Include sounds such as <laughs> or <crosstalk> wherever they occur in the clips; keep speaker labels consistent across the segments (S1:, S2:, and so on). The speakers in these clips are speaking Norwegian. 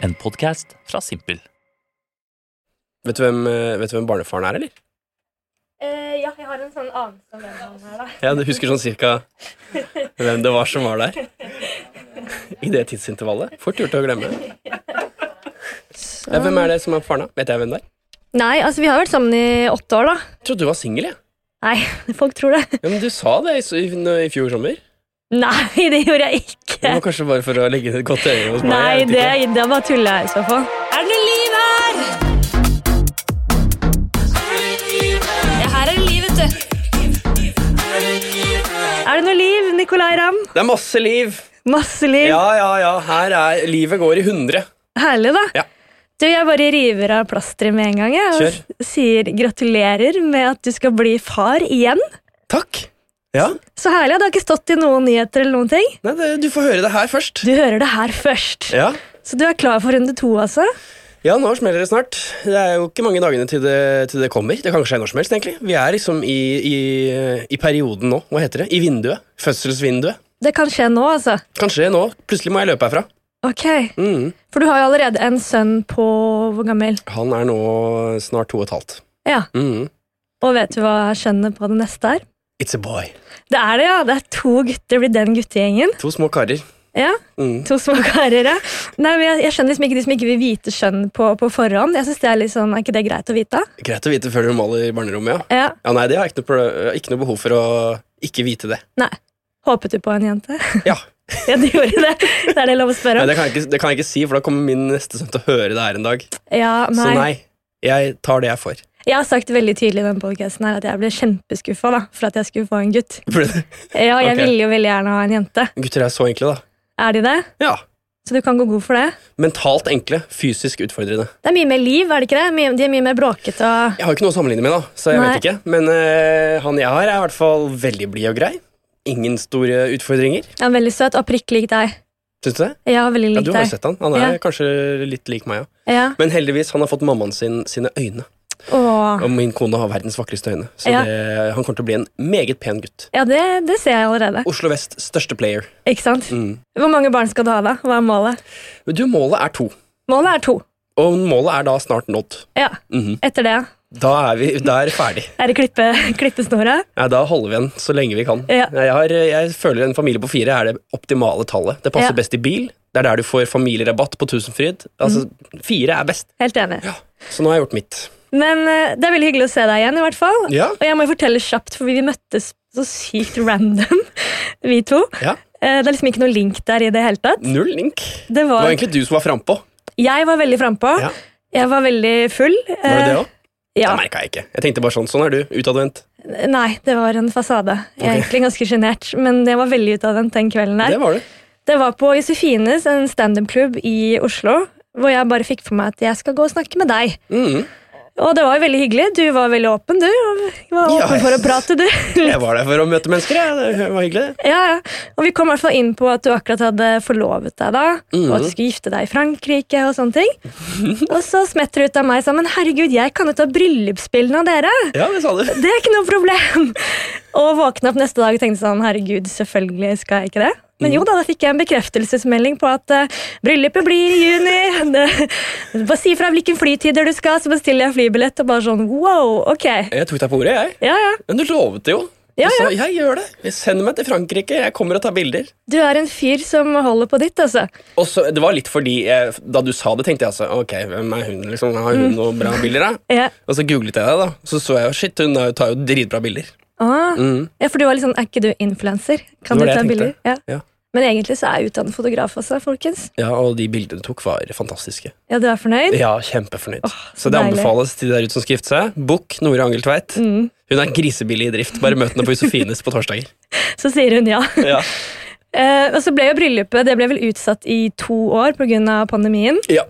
S1: En podkast fra Simpel.
S2: Vet du hvem, eh, vet du hvem barnefaren er, eller?
S3: Eh, ja, jeg har en sånn anelse om hvem han er, da.
S2: Ja, Du husker sånn cirka hvem det var som var der? I det tidsintervallet. Fort gjort å glemme. Ja, hvem er det som er faren, da? Vet jeg hvem det er?
S3: Um, Nei, altså vi har vært sammen i åtte år, da.
S2: Jeg trodde du var singel, jeg.
S3: Nei, folk tror det. <laughs>
S2: Ja. men du sa det i, s- i, nå- i fjor sommer.
S3: Nei, det gjorde jeg
S2: Det
S3: ikke.
S2: var kanskje bare for å legge et godt øye hos meg.
S3: Nei,
S2: jeg vet
S3: det,
S2: ikke.
S3: det er bare tulla i så fall. Er det noe liv her? Ja, her er det liv, vet du. Er det noe liv, Nicolay Ramm?
S2: det er masse liv!
S3: Masse liv.
S2: Ja, ja, ja. Her er Livet går i hundre.
S3: Herlig, da.
S2: Ja.
S3: Du, Jeg bare river av plasteret med en gang jeg, og
S2: Kjør.
S3: s- sier gratulerer med at du skal bli far igjen.
S2: Takk. Ja.
S3: Så herlig. Det har ikke stått i noen nyheter. eller noen ting.
S2: Nei, det, du får høre det her først.
S3: Du hører det her først.
S2: Ja.
S3: Så du er klar for runde to, altså?
S2: Ja, nå smeller det snart. Det er jo ikke mange dagene til det, til det kommer. Det kan skje når som helst, egentlig. Vi er liksom i, i, i perioden nå. Hva heter det? I vinduet. Fødselsvinduet.
S3: Det kan skje nå, altså.
S2: Kan skje nå. Plutselig må jeg løpe herfra.
S3: Ok,
S2: Mm.
S3: For du har jo allerede en sønn på hvor gammel?
S2: Han er nå snart to og et halvt.
S3: Ja,
S2: Mm.
S3: Og vet du hva kjønnet på det neste er?
S2: It's a boy.
S3: Det er det, ja. Det er to gutter det blir den guttegjengen.
S2: To små karer.
S3: Ja,
S2: Mm.
S3: To små karer, ja. Nei, men jeg, jeg skjønner liksom ikke de som ikke vil vite kjønn på, på forhånd. Jeg synes det Er litt sånn, er ikke det greit å vite?
S2: Greit å vite før du maler i barnerommet, ja.
S3: Ja,
S2: Ja, Nei, det har jeg ikke noe, pro- ikke noe behov for å ikke vite det.
S3: Nei. Håpet du på en jente?
S2: Ja,
S3: <laughs> ja, du gjorde det. Det er det lov å spørre
S2: nei,
S3: om.
S2: det, kan jeg ikke, det kan jeg ikke si, for da kommer min neste sønn til å høre det her en dag.
S3: Ja,
S2: Så
S3: nei.
S2: nei, jeg tar det jeg får.
S3: Jeg har sagt veldig tydelig i den podcasten her at jeg ble kjempeskuffa da, for at jeg skulle få en gutt.
S2: For <laughs>
S3: Ja, jeg
S2: Ok.
S3: ville jo veldig gjerne ha en jente.
S2: gutter er så enkle, da.
S3: Er de det?
S2: Ja,
S3: Så du kan gå god for det.
S2: Mentalt enkle, fysisk utfordrende.
S3: Det er mye mer liv, er det ikke det? Mye- De er mye mer bråkete og
S2: Jeg har jo ikke noe å sammenligne med, da, så jeg
S3: Nei.
S2: vet ikke. Men eh, han jeg har, er i hvert fall veldig blid og grei. Ingen store utfordringer.
S3: ja, veldig søt og prikk lik deg.
S2: Syns du det?
S3: Ja, veldig
S2: Ja,
S3: lik
S2: du har jo
S3: deg.
S2: sett han. Han er
S3: Ja.
S2: kanskje litt lik meg, ja.
S3: Ja.
S2: Men heldigvis, han har fått mammaen sin sine øyne.
S3: Åh.
S2: Og min kone har verdens vakreste øyne. Så
S3: Ja.
S2: det, han kommer til å bli en meget pen gutt.
S3: ja det, det ser jeg allerede.
S2: Oslo Vest største player.
S3: Ikke sant?
S2: Mm.
S3: Hvor mange barn skal du ha, da? Hva er målet?
S2: Men Du, målet er to.
S3: Målet er to.
S2: Og målet er da snart nådd.
S3: Ja,
S2: Mhm.
S3: Etter det
S2: Da er vi da er det ferdig.
S3: er det klippe, <laughs> klippesnora.
S2: Ja, da holder vi igjen så lenge vi kan.
S3: Ja.
S2: Jeg, har, jeg føler en familie på fire er det optimale tallet. Det passer
S3: Ja.
S2: best i bil. Det er der du får familierabatt på Tusenfryd. Altså,
S3: Mm.
S2: Fire er best.
S3: Helt enig.
S2: Så nå har jeg gjort mitt.
S3: Men eh, det er veldig hyggelig å se deg igjen, i hvert fall.
S2: Ja.
S3: Og jeg må jo fortelle kjapt, for vi møttes så sykt random, <laughs> vi to.
S2: Ja.
S3: Eh, Det er liksom ikke noe link der i det hele tatt.
S2: Null link.
S3: Det
S2: Det var
S3: var,
S2: egentlig du som var frampå.
S3: jeg var veldig frampå.
S2: Ja.
S3: Jeg var veldig full.
S2: Var det det òg?
S3: Eh, Ja.
S2: Det merka jeg ikke. Jeg tenkte bare sånn. Sånn er du. Utadvendt.
S3: Nei, det var en fasade. Jeg er egentlig ganske sjenert, men jeg var veldig utadvendt den kvelden der.
S2: Det var du.
S3: Det var på Josefines, en standup-klubb i Oslo, hvor jeg bare fikk for meg at jeg skal gå og snakke med deg.
S2: Mhm.
S3: Og det var jo veldig hyggelig. Du var veldig åpen, du. og Var
S2: Ja,
S3: åpen for
S2: jeg-
S3: å prate, du.
S2: <laughs> Jeg var der for å møte mennesker. Jeg. Det var hyggelig, det.
S3: Ja, ja. Og vi kom i hvert fall inn på at du akkurat hadde forlovet deg da, og at du skulle gifte deg i Frankrike og sånne ting. og så smetter det ut av meg sammen, herregud, jeg kan jo ta bryllupsbildene av dere.
S2: Ja, det sa du.
S3: Det er ikke noe problem. og våkne opp neste dag og tenkte sånn, herregud, selvfølgelig skal jeg ikke det. Men jo da, da fikk jeg en bekreftelsesmelding på at eh, bryllupet blir i juni. Det- Bare si fra hvilken flytider du skal, så bestiller jeg flybillett. Og bare sånn, wow, ok.
S2: Jeg tok deg på ordet, jeg.
S3: Ja, ja.
S2: Men du lovet det jo.
S3: Ja,
S2: Jeg sa, jeg gjør det. Send meg til Frankrike. Jeg kommer og tar bilder.
S3: Du er en fyr som holder på ditt, altså.
S2: Og så, det var litt fordi eh, Da du sa det, tenkte jeg altså Ok, hvem er hun? liksom? Har
S3: Mm.
S2: hun noen bra bilder? da?
S3: Ja.
S2: Og så googlet jeg det, da. Så så jeg jo shit, hun er- tar jo dritbra bilder.
S3: Ah,
S2: Mm.
S3: Ja, for du var litt sånn, er ikke du influenser? Kan
S2: Det var
S3: du
S2: det
S3: ta
S2: jeg
S3: bilder?
S2: tenkte.
S3: Ja.
S2: Ja.
S3: Men egentlig så er jeg utdannet fotograf også, folkens.
S2: Ja, Og de bildene du tok, var fantastiske.
S3: Ja, du er fornøyd?
S2: Ja, Kjempefornøyd.
S3: så
S2: så det
S3: deilig.
S2: anbefales til de der ute som skal gifte seg. Book Nore Angel Tveit. Hun er grisebillig i drift. Bare møt henne på Josefines på torsdager.
S3: Så sier hun ja. <laughs>
S2: Ja.
S3: Eh, og så ble jo bryllupet det ble vel utsatt i to år pga. pandemien.
S2: <laughs> Ja.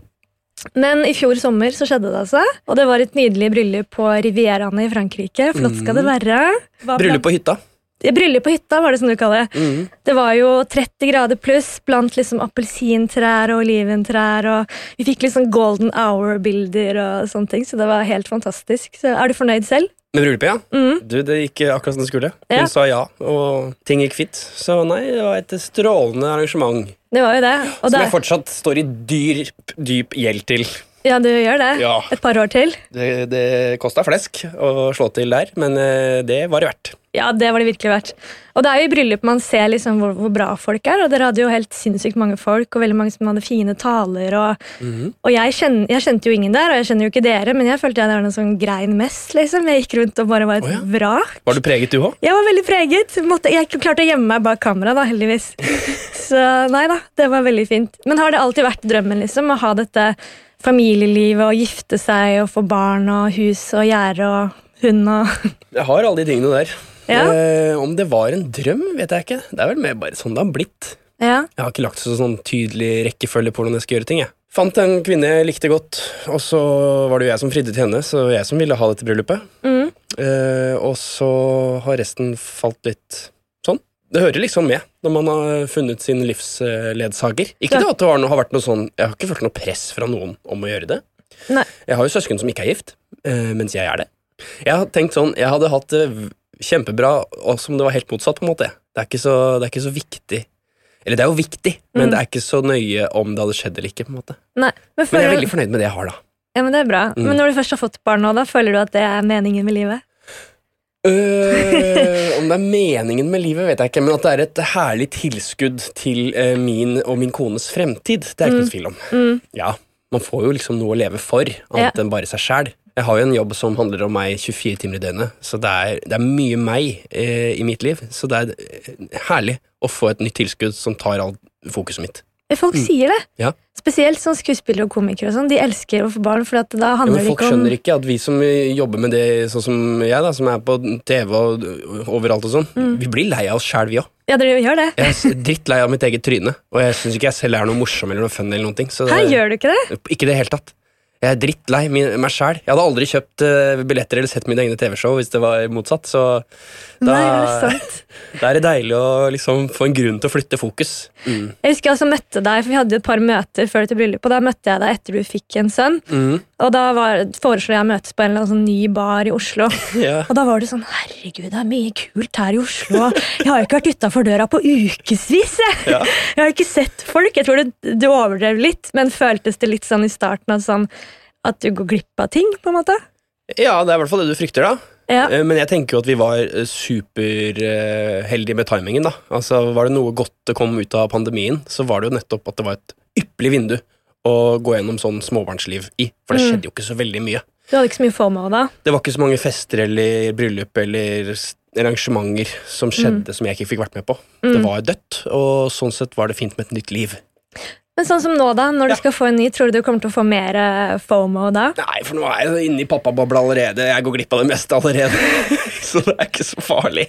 S3: Men i fjor sommer så skjedde det, altså. Og det var et nydelig bryllup på Rivieraene i Frankrike. Flott skal det være. Hva-
S2: Mm. Bryllup på hytta.
S3: Ja, Bryllup på hytta, var det som du kaller det.
S2: Mhm.
S3: Det var jo 30 grader pluss blant liksom appelsintrær og oliventrær. og liksom Vi fikk litt sånn golden hour-bilder og sånne ting, så det var helt fantastisk. Så Er du fornøyd selv?
S2: Med bryllupet, ja? Du, Det gikk eh, akkurat som det skulle. Hun
S3: Ja.
S2: sa ja, og ting gikk fint. Så nei, det var et strålende arrangement.
S3: Det var jo det. Og
S2: Som
S3: det
S2: jeg fortsatt står i dyp, dyp gjeld til.
S3: ja, du gjør det.
S2: Ja.
S3: Et par år til.
S2: Det, det kosta flesk å slå til der, men eh, det var det verdt.
S3: Ja, det var det virkelig verdt. Og det er jo i bryllup man ser liksom hvor, hvor bra folk er, og dere hadde jo helt sinnssykt mange folk, og veldig mange som hadde fine taler, og,
S2: Mhm.
S3: og jeg, kjen, jeg kjente jo ingen der, og jeg kjenner jo ikke dere, men jeg følte jeg var noen sånn grein mest, liksom. Jeg gikk rundt og bare var et
S2: Å ja.
S3: vrak.
S2: Var du preget, du òg?
S3: Jeg var veldig preget. Måtte, jeg klarte å gjemme meg bak kamera, da,
S2: <laughs>
S3: heldigvis. Så nei da, det var veldig fint. Men har det alltid vært drømmen, liksom, å ha dette familielivet og gifte seg og få barn og hus og gjerde og hund og
S2: Jeg har alle de tingene der.
S3: Ja.
S2: Eh, om det var en drøm, vet jeg ikke. Det er vel mer bare sånn det har blitt.
S3: Ja.
S2: Jeg har ikke lagt så sånn tydelig rekkefølge på hvordan jeg skal gjøre ting. jeg. Fant en kvinne jeg likte godt, og så var det jo jeg som fridde til henne, så jeg som ville ha dette bryllupet.
S3: Mm.
S2: Eh, og så har resten falt litt sånn. Det hører liksom med når man har funnet sin livsledsager. Ikke
S3: Ja.
S2: det at det var noe, har vært noe sånn, Jeg har ikke følt noe press fra noen om å gjøre det.
S3: Nei.
S2: Jeg har jo søsken som ikke er gift, eh, mens jeg er det. Jeg har tenkt sånn, jeg hadde hatt det v- kjempebra og som det var helt motsatt. på en måte. Det er ikke så, det er ikke så viktig. Eller det er jo viktig, men
S3: Mm.
S2: det er ikke så nøye om det hadde skjedd eller ikke. på en måte.
S3: Nei,
S2: Men jeg er
S3: men, føler,
S2: veldig fornøyd med det jeg har, da.
S3: ja, men det er bra.
S2: Mm.
S3: Men når du først har fått barn nå, da føler du at det er meningen med livet?
S2: Øh, om det er meningen med livet, vet jeg ikke, men at det er et herlig tilskudd til eh, min og min kones fremtid, det er ikke noe tvil om.
S3: Mm.
S2: Ja, Man får jo liksom noe å leve for, annet enn bare seg sjæl. Jeg har jo en jobb som handler om meg 24 timer i døgnet, så det er, det er mye meg eh, i mitt liv. Så det er eh, herlig å få et nytt tilskudd som tar alt fokuset mitt.
S3: Folk sier det.
S2: Mm. Ja.
S3: Spesielt sånn skuespillere og komikere og sånn. De elsker å få barn, for at
S2: Ja,
S3: da handler
S2: men
S3: det
S2: folk
S3: ikke om
S2: skjønner ikke at vi som eh, jobber med det sånn som jeg, da, som er på TV og eh, overalt og sånn, vi blir lei av oss sjæl, vi òg.
S3: Ja, dere gjør det.
S2: Jeg er s- drittlei av mitt eget tryne, og jeg syns ikke jeg selv er noe morsom eller noe fun. eller noen ting så det,
S3: Her gjør du ikke det?
S2: Ikke i det hele tatt. Jeg er drittlei mi- meg sjæl. Jeg hadde aldri kjøpt eh, billetter eller sett mine egne TV-show hvis det var motsatt, så da,
S3: Nei, er det sant?
S2: da er det deilig å liksom få en grunn til å flytte fokus. Mm.
S3: Jeg husker jeg også møtte deg, for vi hadde jo et par møter før til bryllupet, og da møtte jeg deg etter du fikk en sønn.
S2: Mm.
S3: Og da var, foreslo jeg å møtes på en eller annen sånn ny bar i Oslo.
S2: Ja.
S3: Og da var det sånn Herregud, det er mye kult her i Oslo. Jeg har jo ikke vært utafor døra på ukevis. Jeg.
S2: Ja.
S3: jeg har ikke sett folk. Jeg tror du, du overdrev litt, men føltes det litt sånn i starten at, sånn, at du går glipp av ting, på en måte?
S2: ja, det er i hvert fall det du frykter, da.
S3: Ja.
S2: Eh, Men jeg tenker jo at vi var eh, superheldige med timingen. da. Altså, Var det noe godt det kom ut av pandemien, så var det jo nettopp at det var et ypperlig vindu å gå gjennom sånn småbarnsliv i. For det
S3: Mm.
S2: skjedde jo ikke så veldig mye.
S3: Du hadde ikke så mye FOMO da.
S2: Det var ikke så mange fester eller bryllup eller s- arrangementer
S3: Mm.
S2: som skjedde som jeg ikke fikk vært med på. Det var dødt, og sånn sett var det fint med et nytt liv.
S3: Men sånn som nå, da, når
S2: Ja.
S3: du skal få en ny, tror du du kommer til å få mer eh, FOMO da?
S2: Nei, for nå er jeg inne i pappabobla allerede. Jeg går glipp av det meste allerede. <laughs> så det er ikke så farlig.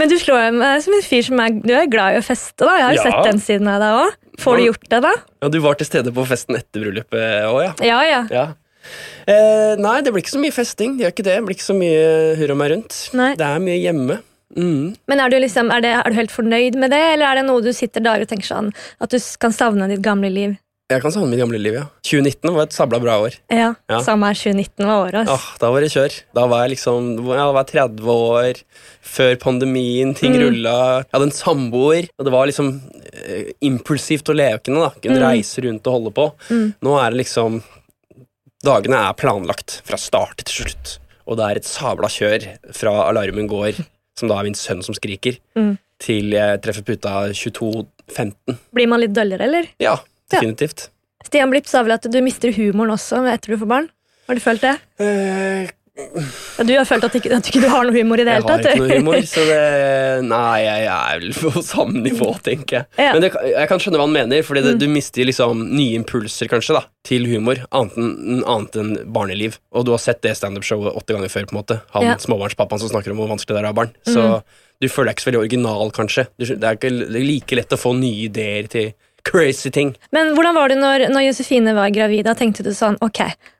S3: Men du slår jo meg som en fyr som er, du er glad i å feste. da. Jeg har
S2: Ja.
S3: jo sett den siden av deg òg. Får du gjort det, da?
S2: Ja, du var til stede på festen etter bryllupet òg, ja.
S3: Ja, ja.
S2: ja. Eh, nei, det blir ikke så mye festing. Det gjør ikke det. Det blir ikke så mye eh, hurra meg rundt.
S3: Nei.
S2: Det er mye hjemme. Mm.
S3: Men er du, liksom, er, det, er du helt fornøyd med det, eller er det noe du sitter der og tenker sånn at du s- kan savne ditt gamle liv?
S2: Jeg kan savne mitt gamle liv, ja. 2019 var et sabla bra år.
S3: Ja,
S2: Ja.
S3: Samme her, 2019 var året. ass.
S2: Ah, da var det kjør. Da var jeg liksom ja, da var jeg 30 år, før pandemien, ting rulla. Jeg hadde en samboer, og det var liksom eh, impulsivt og lekende. da. Kunne reise rundt og holde på. Nå er det liksom Dagene er planlagt fra start til slutt, og det er et sabla kjør fra alarmen går, som da er min sønn som skriker, til jeg treffer puta 22.15.
S3: Blir man litt døllere, eller?
S2: Ja, definitivt.
S3: Stian Blipp sa vel at du mister humoren også etter du får barn. Har du følt det?
S2: Eh,
S3: Ja, Du har følt at, ikke, at ikke du har noe humor i det
S2: Jeg
S3: hele
S2: har
S3: tatt?
S2: ikke
S3: du.
S2: noe humor, så det Nei, jeg er vel på samme nivå, tenker jeg.
S3: Ja. Mm.
S2: Men det, jeg kan skjønne hva han mener, Fordi det, du mister liksom nye impulser, kanskje, da til humor, annet enn, annet enn barneliv. Og du har sett det standup-showet åtte ganger før, på en måte. Han
S3: Ja. Mm.
S2: småbarnspappaen som snakker om hvor vanskelig det er å ha barn. Så du føler deg ikke så veldig original, kanskje. Du, skjø- det er ikke det er like lett å få nye ideer til crazy ting.
S3: Men hvordan var det når, når Josefine var gravid? Da tenkte du sånn Ok,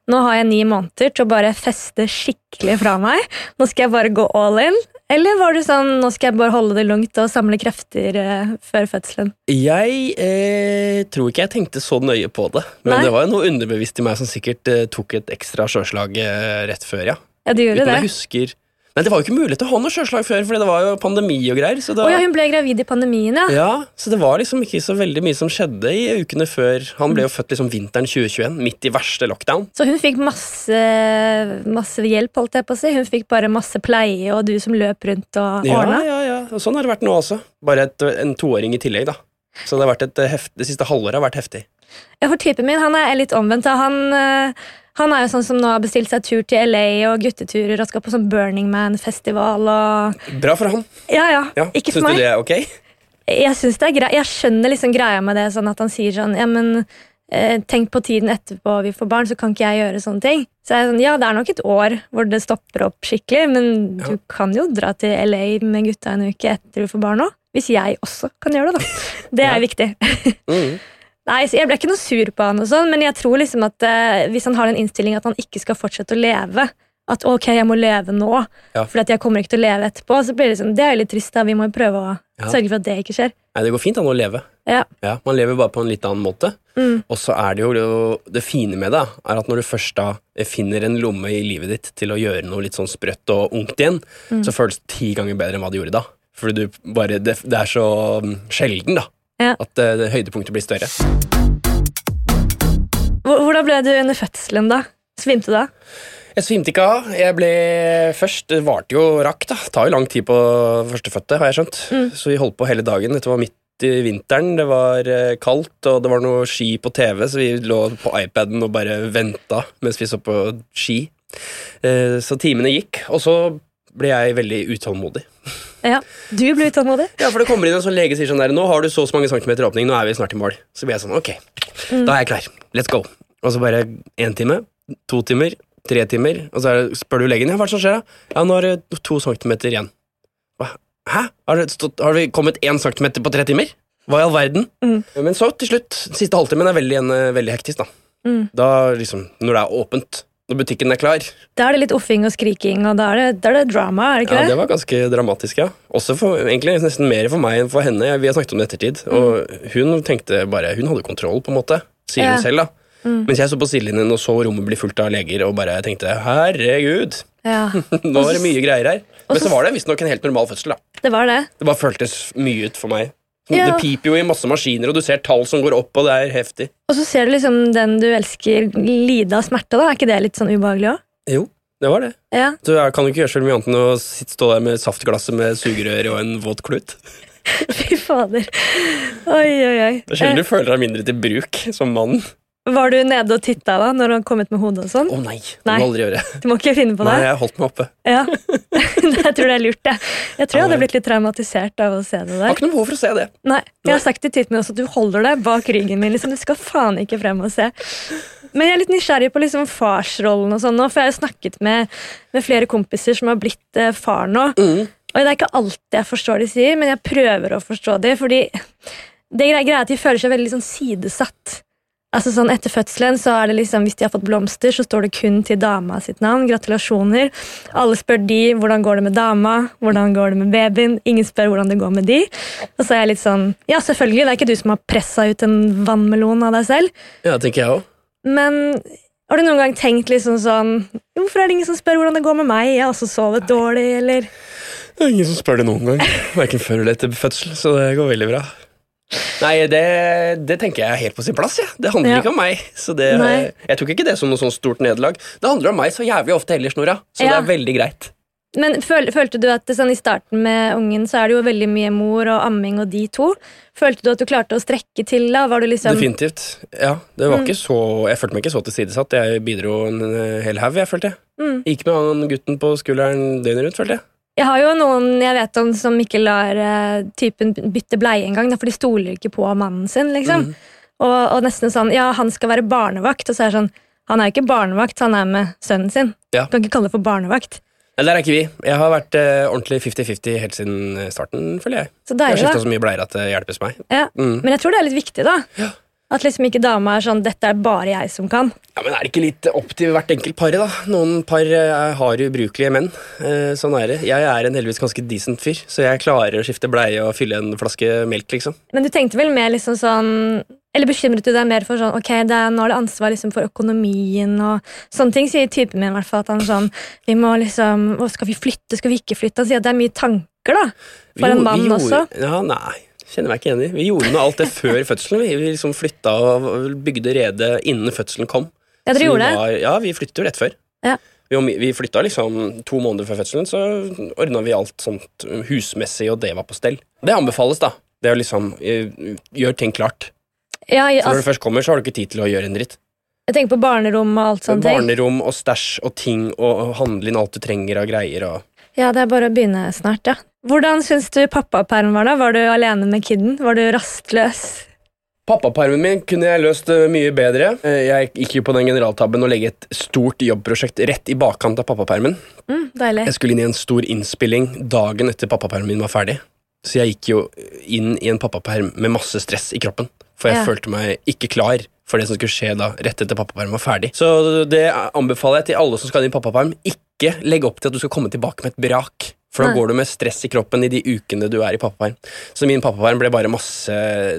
S3: nå har jeg ni måneder til å bare feste skikkelig fra meg. Nå skal jeg bare gå all in. Eller var du sånn Nå skal jeg bare holde det langt og samle krefter eh, før fødselen?
S2: Jeg eh, tror ikke jeg tenkte så nøye på det, men
S3: Nei.
S2: det var jo noe underbevisst i meg som sikkert eh, tok et ekstra sjøslag eh, rett før, ja.
S3: Ja, du gjorde
S2: Uten at
S3: det.
S2: jeg husker Nei, det var jo ikke mulig til å ha noe sjøslag før, Fordi det var jo pandemi og greier. Så det,
S3: Å ja, hun ble gravid i pandemien, ja.
S2: ja, så det var liksom ikke så veldig mye som skjedde i ukene før. Han ble jo
S3: Mm.
S2: født liksom vinteren 2021, midt i verste lockdown.
S3: Så hun fikk masse, masse hjelp, holdt jeg på å si. Hun fikk bare masse pleie, og du som løp rundt og
S2: Ja,
S3: ordna.
S2: ja, ja. Og sånn har det vært nå også. Bare et, en toåring i tillegg, da. Så det, har vært et eh, heft, det siste halvåret har vært heftig.
S3: Ja, for typen min han er litt omvendt. da. Han, eh, han er jo sånn som nå har bestilt seg tur til LA og gutteturer og skal på sånn Burning Man-festival og
S2: Bra for han.
S3: Ja, ja.
S2: Ja,
S3: Ikke for
S2: Syns
S3: meg.
S2: du det er ok?
S3: Jeg synes det er grei. Jeg skjønner liksom greia med det, sånn at han sier sånn Ja, men eh, tenk på tiden etterpå vi får barn, så kan ikke jeg gjøre sånne ting. Så jeg er sånn, Ja, det er nok et år hvor det stopper opp skikkelig, men du kan jo dra til LA med gutta en uke etter du får barn òg. Hvis jeg også kan
S2: <laughs>
S3: gjøre det, da. Det er viktig.
S2: Mm.
S3: <laughs> Nei, så Jeg ble ikke noe sur på han, og sånn, men jeg tror liksom at eh, hvis han har den innstilling at han ikke skal fortsette å leve At ok, jeg må leve nå,
S2: Ja.
S3: for jeg kommer ikke til å leve etterpå. så blir Det liksom, det er jo litt trist, da. Vi må jo prøve å sørge for at det ikke skjer.
S2: Nei, det går fint an å leve.
S3: Ja.
S2: Ja, Man lever bare på en litt annen måte. Og så er det jo det fine med det, er at når du først da finner en lomme i livet ditt til å gjøre noe litt sånn sprøtt og ungt igjen, så føles det ti ganger bedre enn hva du gjorde da. Fordi du bare, det, det er så mm, sjelden, da.
S3: Ja.
S2: At eh, det høydepunktet blir større.
S3: Hvor- Hvordan ble du under fødselen, da? Svimte du da?
S2: Jeg svimte ikke av. Jeg ble først Det varte jo rakk, da. Det tar jo lang tid på førstefødte, har jeg skjønt. Så vi holdt på hele dagen. Dette var midt i vinteren, det var eh, kaldt, og det var noe ski på TV, så vi lå på iPaden og bare venta mens vi så på ski. Eh, Så timene gikk, og så ble jeg veldig utålmodig.
S3: Ja. Du ble utålmodig?
S2: Ja, for det kommer inn en sånn lege sier sånn der Nå har du så og så mange centimeter åpning, nå er vi snart i mål. Så blir jeg sånn, ok, da er jeg klar. Let's go. Og så bare én time, to timer, tre timer, og så er det, spør du legen ja, hva er det som skjer da? Ja, nå er det to centimeter igjen. Hva? Hæ? Har, det stått, har vi kommet én centimeter på tre timer? Hva i all verden? Men så til slutt, siste halvtimen er veldig, igjen, eh, veldig hektisk, da. Da liksom, når det er åpent, når butikken er klar,
S3: Da er det litt offing og skriking, og da er det, da er det drama, er det ikke
S2: ja, det
S3: det?
S2: var ganske dramatisk, ja. Også for, egentlig nesten mer for meg enn for henne. Vi har snakket om det i ettertid, og hun tenkte bare Hun hadde kontroll, på en måte, sier
S3: Ja.
S2: hun selv, da. Mens jeg så på sidelinjen og så rommet bli fullt av leger og bare tenkte herregud,
S3: Ja, det
S2: nå er det mye greier her. Men
S3: så-
S2: så var det visstnok en helt normal fødsel, da.
S3: var det.
S2: Det bare føltes mye ut for meg. Sånn,
S3: Ja.
S2: Det piper jo i masse maskiner, og du ser tall som går opp, og det er heftig.
S3: Og så ser du liksom den du elsker lide av smerte, da. Er ikke det litt sånn ubehagelig òg?
S2: Jo, det var det.
S3: Ja. <laughs>
S2: Du er- kan jo ikke gjøre så veldig mye annet enn å sitte- stå der med saftglasset med sugerør og en våt klut.
S3: Fy fader. Oi, oi, oi.
S2: Det er sjelden du føler deg mindre til bruk som mann.
S3: Eh, Var du nede og titta da, når han kom ut med hodet og sånn?
S2: Å nei, det
S3: Nei.
S2: må du aldri gjøre.
S3: Du må ikke finne på
S2: Nei,
S3: det.
S2: jeg holdt meg oppe.
S3: Ja. <laughs> Jeg tror det er lurt, jeg. Jeg tror jeg hadde blitt litt traumatisert av å se det
S2: Jeg
S3: der.
S2: har ikke noe behov for å se det.
S3: Nei, jeg har sagt til tittene min også at du holder deg bak ryggen min. liksom Du skal faen ikke frem og se. Men jeg er litt nysgjerrig på liksom farsrollen og sånn nå, for jeg har jo snakket med, med flere kompiser som har blitt eh, far nå. Og det er ikke alltid jeg forstår de sier, men jeg prøver å forstå de, fordi Det greia greia er at de føler seg veldig sånn sidesatt. Altså sånn Etter fødselen, så er det liksom, hvis de har fått blomster, så står det kun til dama sitt navn. Gratulasjoner. Alle spør de hvordan går det med dama, hvordan går det med babyen. Ingen spør hvordan det går med de. Og så er jeg litt sånn Ja, selvfølgelig, det er ikke du som har pressa ut en vannmelon av deg selv,
S2: Ja, tenker jeg òg.
S3: men har du noen gang tenkt liksom sånn Hvorfor er det ingen som spør hvordan det går med meg? Jeg har også sovet dårlig, eller
S2: Det er ingen som spør det noen gang. Verken før eller etter fødsel, så det går veldig bra. Nei, det, det tenker jeg er helt på sin plass. Ja. Det handler
S3: Ja.
S2: ikke om meg. Så det,
S3: Nei.
S2: jeg tok ikke det som noe sånt stort nederlag. Det handler om meg så jævlig ofte heller, Snorra. Så det
S3: Ja.
S2: er veldig greit.
S3: Men føl, følte du at det, sånn, i starten med ungen så er det jo veldig mye mor og amming og de to. Følte du at du klarte å strekke til da? Var du liksom
S2: Definitivt. Ja, det
S3: Mm.
S2: var ikke så, jeg følte meg ikke så tilsidesatt. Jeg bidro en eh, hel haug, jeg, følte jeg.
S3: Mm.
S2: Gikk med han gutten på skulderen døgnet rundt, følte jeg.
S3: Jeg har jo noen jeg vet om som ikke lar eh, typen bytte bleie engang, da, for de stoler ikke på mannen sin, liksom.
S2: Mm.
S3: Og, og nesten sånn Ja, han skal være barnevakt, og så er det sånn Han er jo ikke barnevakt, han er med sønnen sin.
S2: Ja.
S3: Du kan ikke kalle det for barnevakt.
S2: Nei, der er ikke vi. Jeg har vært eh, ordentlig 50-50 helt siden eh, starten, føler jeg.
S3: Så
S2: Jeg har
S3: deilig, da.
S2: skifta så mye bleier at det hjelpes meg.
S3: Ja.
S2: Mm.
S3: Men jeg tror det er litt viktig, da. At liksom ikke dama er sånn 'dette er bare jeg som kan'.
S2: Ja, men Er det ikke litt opp til hvert enkelt par? da? Noen par eh, har ubrukelige menn. Eh, Sånn er det. Jeg er en heldigvis ganske decent fyr, så jeg klarer å skifte bleie og fylle en flaske melk. liksom.
S3: Men du tenkte vel mer liksom sånn Eller bekymret du deg mer for sånn Ok, det er, nå er det ansvar liksom for økonomien og sånne ting, sier typen min i hvert fall. At han er sånn Vi må liksom å, Skal vi flytte, skal vi ikke flytte? Han sier at det er mye tanker, da.
S2: Vi
S3: For en
S2: gjorde-
S3: mann
S2: vi gjorde,
S3: også.
S2: Ja, nei. Kjenner meg ikke enig. Vi gjorde nå alt det før <laughs> fødselen. Vi, vi liksom flytta og bygde redet innen fødselen kom.
S3: Ja,
S2: Så
S3: dere
S2: vi
S3: gjorde det.
S2: var, ja, vi flyttet jo rett før.
S3: Ja.
S2: Vi, om- vi flytta liksom to måneder før fødselen, så ordna vi alt sånt husmessig, og det var på stell. Det anbefales, da. Det er jo liksom eh, Gjør ting klart.
S3: Ja, jeg,
S2: For når du
S3: altså,
S2: først kommer, så har du ikke tid til å gjøre en dritt.
S3: jeg tenker på barnerom og alt sånt.
S2: Barnerom og stæsj og ting og og handle inn alt du trenger av greier og
S3: Ja, det er bare å begynne snart, ja. Hvordan syns du pappaperm var, da? Var du alene med kidden? Var du rastløs?
S2: Pappapermen min kunne jeg løst eh, mye bedre. Eh, Jeg gikk jo på den generaltabben å legge et stort jobbprosjekt rett i bakkant av pappapermen.
S3: Mm, deilig.
S2: Jeg skulle inn i en stor innspilling dagen etter pappapermen min var ferdig. Så jeg gikk jo inn i en pappaperm med masse stress i kroppen. For jeg
S3: Ja.
S2: følte meg ikke klar for det som skulle skje da, rett etter pappapermen var ferdig. Så det anbefaler jeg til alle som skal inn i pappaperm. Ikke legg opp til at du skal komme tilbake med et brak. For da
S3: Nei.
S2: går du med stress i kroppen i de ukene du er i pappaperm. Så min pappaperm ble bare masse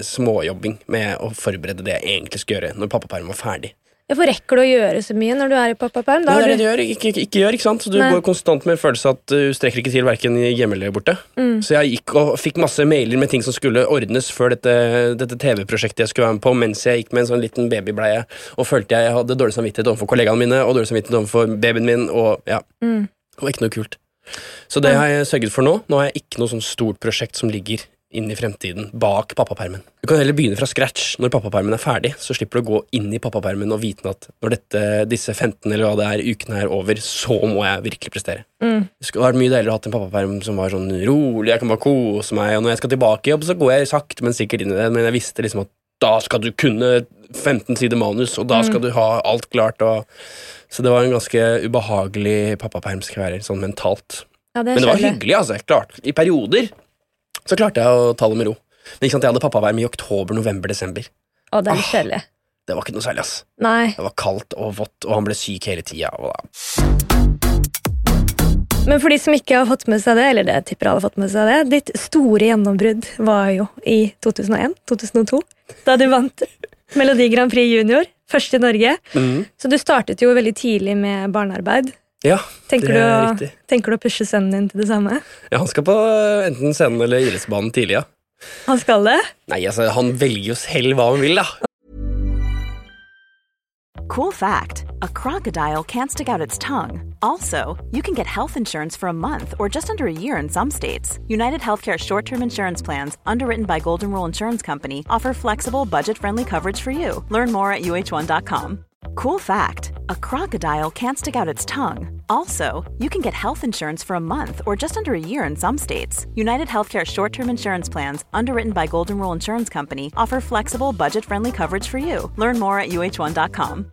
S2: småjobbing med å forberede det jeg egentlig skulle gjøre når pappapermen var ferdig.
S3: Ja, For rekker du å gjøre så mye når du er i pappaperm? Da
S2: Nei,
S3: har
S2: det er det
S3: du...
S2: du gjør, ikke, ikke, ikke gjør, ikke sant? Så du
S3: Nei.
S2: går konstant med en følelse at uh, du strekker ikke til hverken hjemme eller borte.
S3: Mm.
S2: Så jeg gikk og fikk masse mailer med ting som skulle ordnes før dette, dette TV-prosjektet jeg skulle være med på, mens jeg gikk med en sånn liten babybleie og følte jeg hadde dårlig samvittighet overfor kollegaene mine og dårlig samvittighet overfor babyen min, og ja,
S3: Mm.
S2: det var ikke noe kult. Så det har jeg sørget for nå. Nå har jeg ikke noe sånn stort prosjekt som ligger inn i fremtiden, bak pappapermen. Du kan heller begynne fra scratch når pappapermen er ferdig, så slipper du å gå inn i pappapermen og vite at når dette, disse 15 eller hva det er, ukene er over, så må jeg virkelig prestere.
S3: Mm.
S2: Det skulle vært mye deiligere å ha en pappaperm som var sånn rolig, jeg kan bare kose meg, og når jeg skal tilbake i jobb, så går jeg sakte, men sikkert inn i det, men jeg visste liksom at da skal du kunne 15 sider manus, og da skal du ha alt klart, og så det var en ganske ubehagelig pappaperm, skal jeg være, sånn mentalt.
S3: Ja, det
S2: Men det var
S3: skjønner jeg.
S2: hyggelig, altså. Klart. I perioder så klarte jeg å ta det med ro. Men ikke sant, Jeg hadde pappaperm i oktober, november, desember.
S3: Å, det er litt kjedelig.
S2: Det var ikke noe særlig, ass.
S3: Nei.
S2: Det var kaldt og vått, og han ble syk hele tida. og da-
S3: Men for de som ikke har fått med seg det, eller det tipper alle har fått med seg det, ditt store gjennombrudd var jo i 2001-2002, da du vant Melodi Grand Prix Junior, først i Norge.
S2: Mm.
S3: Så du startet jo veldig tidlig med barnearbeid.
S2: Ja,
S3: Tenker,
S2: det er
S3: du,
S2: riktig.
S3: å, tenker du å pushe sønnen din til det samme?
S2: Ja, Han skal på eh, enten scenen eller idrettsbanen tidlig, ja.
S3: Han skal det.
S2: Nei, altså, han velger jo selv hva han vil, da.
S4: Cool fact a crocodile can't stick out its tongue. Also, you can get health insurance for a month or just under a year in some states. United Healthcare short term insurance plans, underwritten by Golden Rule Insurance Company, offer flexible, budget friendly coverage for you. Learn more at uh1.com. Cool fact a crocodile can't stick out its tongue. Also, you can get health insurance for a month or just under a year in some states. United Healthcare short term insurance plans, underwritten by Golden Rule Insurance Company, offer flexible, budget friendly coverage for you. Learn more at uh1.com.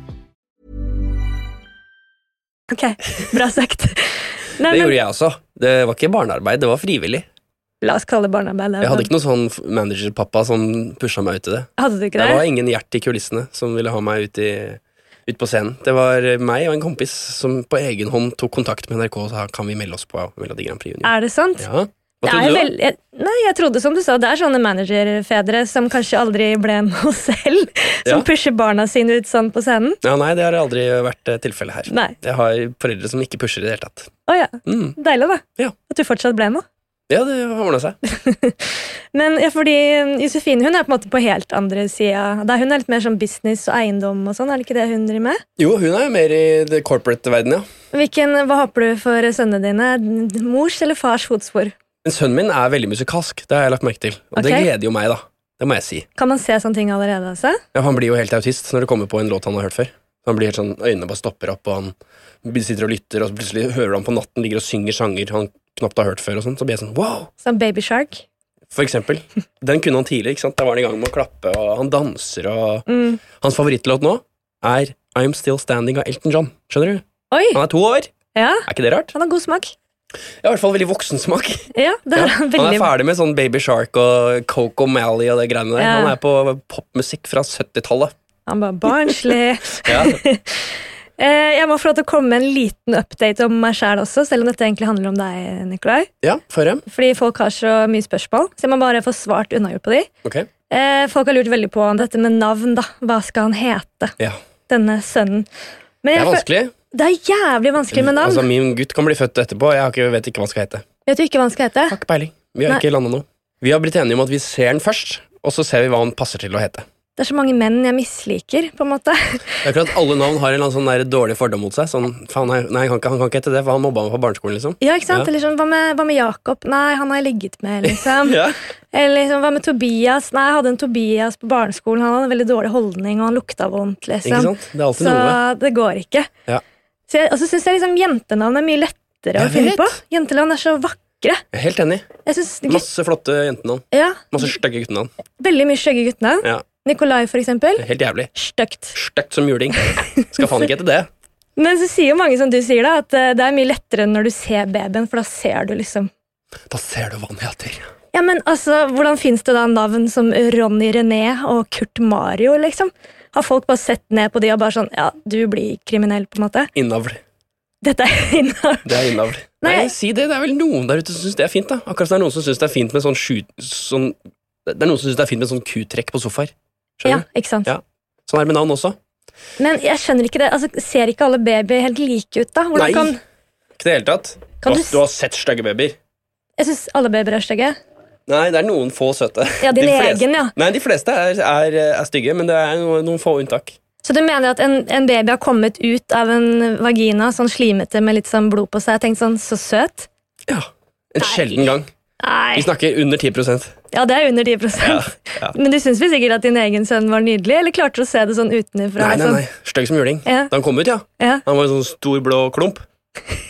S3: Ok, bra sagt. Nei,
S2: <laughs> Det
S3: men,
S2: gjorde jeg også. Det var ikke barnearbeid, det var frivillig.
S3: la oss kalle det barnearbeid.
S2: Jeg hadde ikke noen sånn f- managerpappa som pusha meg ut i det.
S3: Hadde du ikke
S2: Det
S3: det?
S2: var ingen hjert i kulissene som ville ha meg ut, i, ut på scenen. Det var meg og en kompis som på egen hånd tok kontakt med NRK og sa kan vi melde oss på Melodi Grand Prix Junior.
S3: Er det sant?
S2: Ja. Hva
S3: Det
S2: trodde
S3: er
S2: du? da?
S3: vel- jeg, nei, jeg trodde som du sa, det er sånne managerfedre som kanskje aldri ble noe <laughs> selv, som
S2: Ja.
S3: pusher barna sine ut sånn på scenen.
S2: Ja, nei, det har aldri vært eh, tilfellet her.
S3: Nei.
S2: Jeg har foreldre som ikke pusher i det hele tatt.
S3: Å ja,
S2: Mm.
S3: deilig da.
S2: Ja.
S3: At du fortsatt ble noe.
S2: Ja, det har ordna seg. <laughs>
S3: Men ja, fordi eh, Josefine hun er på en måte på helt andre sida. Da Hun er litt mer sånn business og eiendom og sånn, er det ikke det hun driver med?
S2: Jo, hun er jo mer i the corporate-verden, ja.
S3: Hvilken, Hva håper du for sønnene dine? D- Mors eller fars fotspor?
S2: Men sønnen min er veldig musikalsk, det har jeg lagt merke til. Og det
S3: Ok.
S2: gleder jo meg, da. Det må jeg si.
S3: Kan man se sånne ting allerede? altså?
S2: Ja, han blir jo helt autist når det kommer på en låt han har hørt før. Han blir helt sånn, Øynene bare stopper opp, og han sitter og lytter, og så plutselig hører han på natten ligger og synger sanger han knapt har hørt før. og sånt, Så blir jeg sånn wow!
S3: Sånn Baby Shark?
S2: For eksempel.
S3: <laughs>
S2: Den kunne han tidlig. ikke sant? Da var han i gang med å klappe, og han danser, og
S3: Mm.
S2: Hans favorittlåt nå er I'm Still Standing av Elton John. Skjønner du?
S3: Oi!
S2: Han er to år.
S3: Ja,
S2: Er ikke det rart?
S3: han har god smak.
S2: Jeg har i hvert fall veldig voksensmak.
S3: <laughs> Ja,
S2: Ja.
S3: det har han
S2: Han
S3: veldig
S2: er ferdig med sånn Baby Shark og Coco Mally og det greiene der.
S3: Ja.
S2: Han er på popmusikk fra 70-tallet.
S3: Han var barnslig.
S2: <laughs> Ja.
S3: <laughs> Eh, Jeg må få lov til å komme med en liten update om meg sjæl også, selv om dette egentlig handler om deg, Nikolai.
S2: ja, for dem.
S3: Fordi folk har så mye spørsmål, så jeg må bare få svart unnagjort på de.
S2: Ok.
S3: Eh, Folk har lurt veldig på dette med navn, da. Hva skal han hete,
S2: Ja.
S3: denne sønnen? Men
S2: Det er
S3: jeg føl-
S2: vanskelig.
S3: det er jævlig vanskelig med navn.
S2: Altså, Min gutt kan bli født etterpå. Jeg har ikke, vet ikke hva han skal hete.
S3: Vet du ikke hva han skal hete?
S2: Har ikke peiling. Vi har
S3: Nei.
S2: ikke landa noe. Vi har blitt enige om at vi ser den først, og så ser vi hva han passer til å hete.
S3: Det er så mange menn jeg misliker, på en måte. <laughs>
S2: Det er akkurat Alle navn har en eller annen sånn der dårlig fordom mot seg. Sånn, faen, nei, nei, han, kan, han kan ikke hete det, for han mobba meg på barneskolen. liksom
S3: Ja, ikke
S2: Ja.
S3: sant? Eller sånn, hva med, hva med Jakob? Nei, han har jeg ligget med,
S2: <laughs>
S3: liksom.
S2: Ja.
S3: Eller liksom, hva med Tobias? Nei, jeg hadde en Tobias på barneskolen. Han hadde en veldig dårlig holdning, og han lukta vondt, liksom.
S2: Ikke sant? Det er alltid
S3: Så
S2: noe.
S3: det går ikke.
S2: Ja.
S3: Så jeg, og så syns jeg liksom jentenavn er mye lettere
S2: Jeg
S3: å finne
S2: vet.
S3: på. Jentenavn er så vakre.
S2: Jeg er helt enig.
S3: Jeg synes,
S2: Masse flotte jentenavn.
S3: ja,
S2: Masse stygge guttenavn.
S3: Veldig mye skjøgge guttenavn.
S2: Ja,
S3: Nikolai, for eksempel.
S2: det er helt jævlig.
S3: Støkt.
S2: Stygt som juling. Skal faen ikke hete det.
S3: Men så sier jo mange som du sier, da, at eh, det er mye lettere når du ser babyen, for da ser du liksom
S2: Da ser du hva han heter.
S3: Ja, men altså, Hvordan fins det da navn som Ronny René og Kurt Mario, liksom? Har folk bare sett ned på de og bare sånn Ja, du blir kriminell, på en måte.
S2: Innavl.
S3: Dette <laughs> er innavl.
S2: Det er innavl. Nei,
S3: Nei.
S2: si det. Det er vel noen der ute som syns det er fint. da Akkurat som det er noen som syns det er fint med sånn sju... Sånn, det er noen som syns det er fint med sånn kutrekk på sofaer.
S3: Ja,
S2: Skjønner du?
S3: ikke sant?
S2: Ja. Sånn er det med navn også.
S3: Men jeg skjønner ikke det. Altså, ser ikke alle babyer helt like ut, da? Hvordan
S2: Nei.
S3: kan,
S2: Ikke i det hele tatt.
S3: Kan
S2: du,
S3: du
S2: har-
S3: s-
S2: du har sett stygge babyer.
S3: jeg syns alle babyer er stygge.
S2: Nei, det er noen få søte.
S3: Ja, din
S2: De fleste-
S3: egen, ja.
S2: Nei, de fleste er, er, er stygge, men det er noen, noen få unntak.
S3: Så du mener at en, en baby har kommet ut av en vagina, sånn slimete med litt sånn blod på seg? Jeg tenkte sånn, så søt?
S2: Ja. En sjelden gang. Vi
S3: Nei.
S2: snakker under 10
S3: Ja, det er under 10
S2: ja.
S3: Men du syns vel sikkert at din egen sønn var nydelig, eller klarte du å se det sånn utenfra?
S2: Nei, nei, nei. Stygg som juling.
S3: Ja.
S2: Da han kom ut, ja.
S3: Ja.
S2: Han var en sånn stor, blå klump.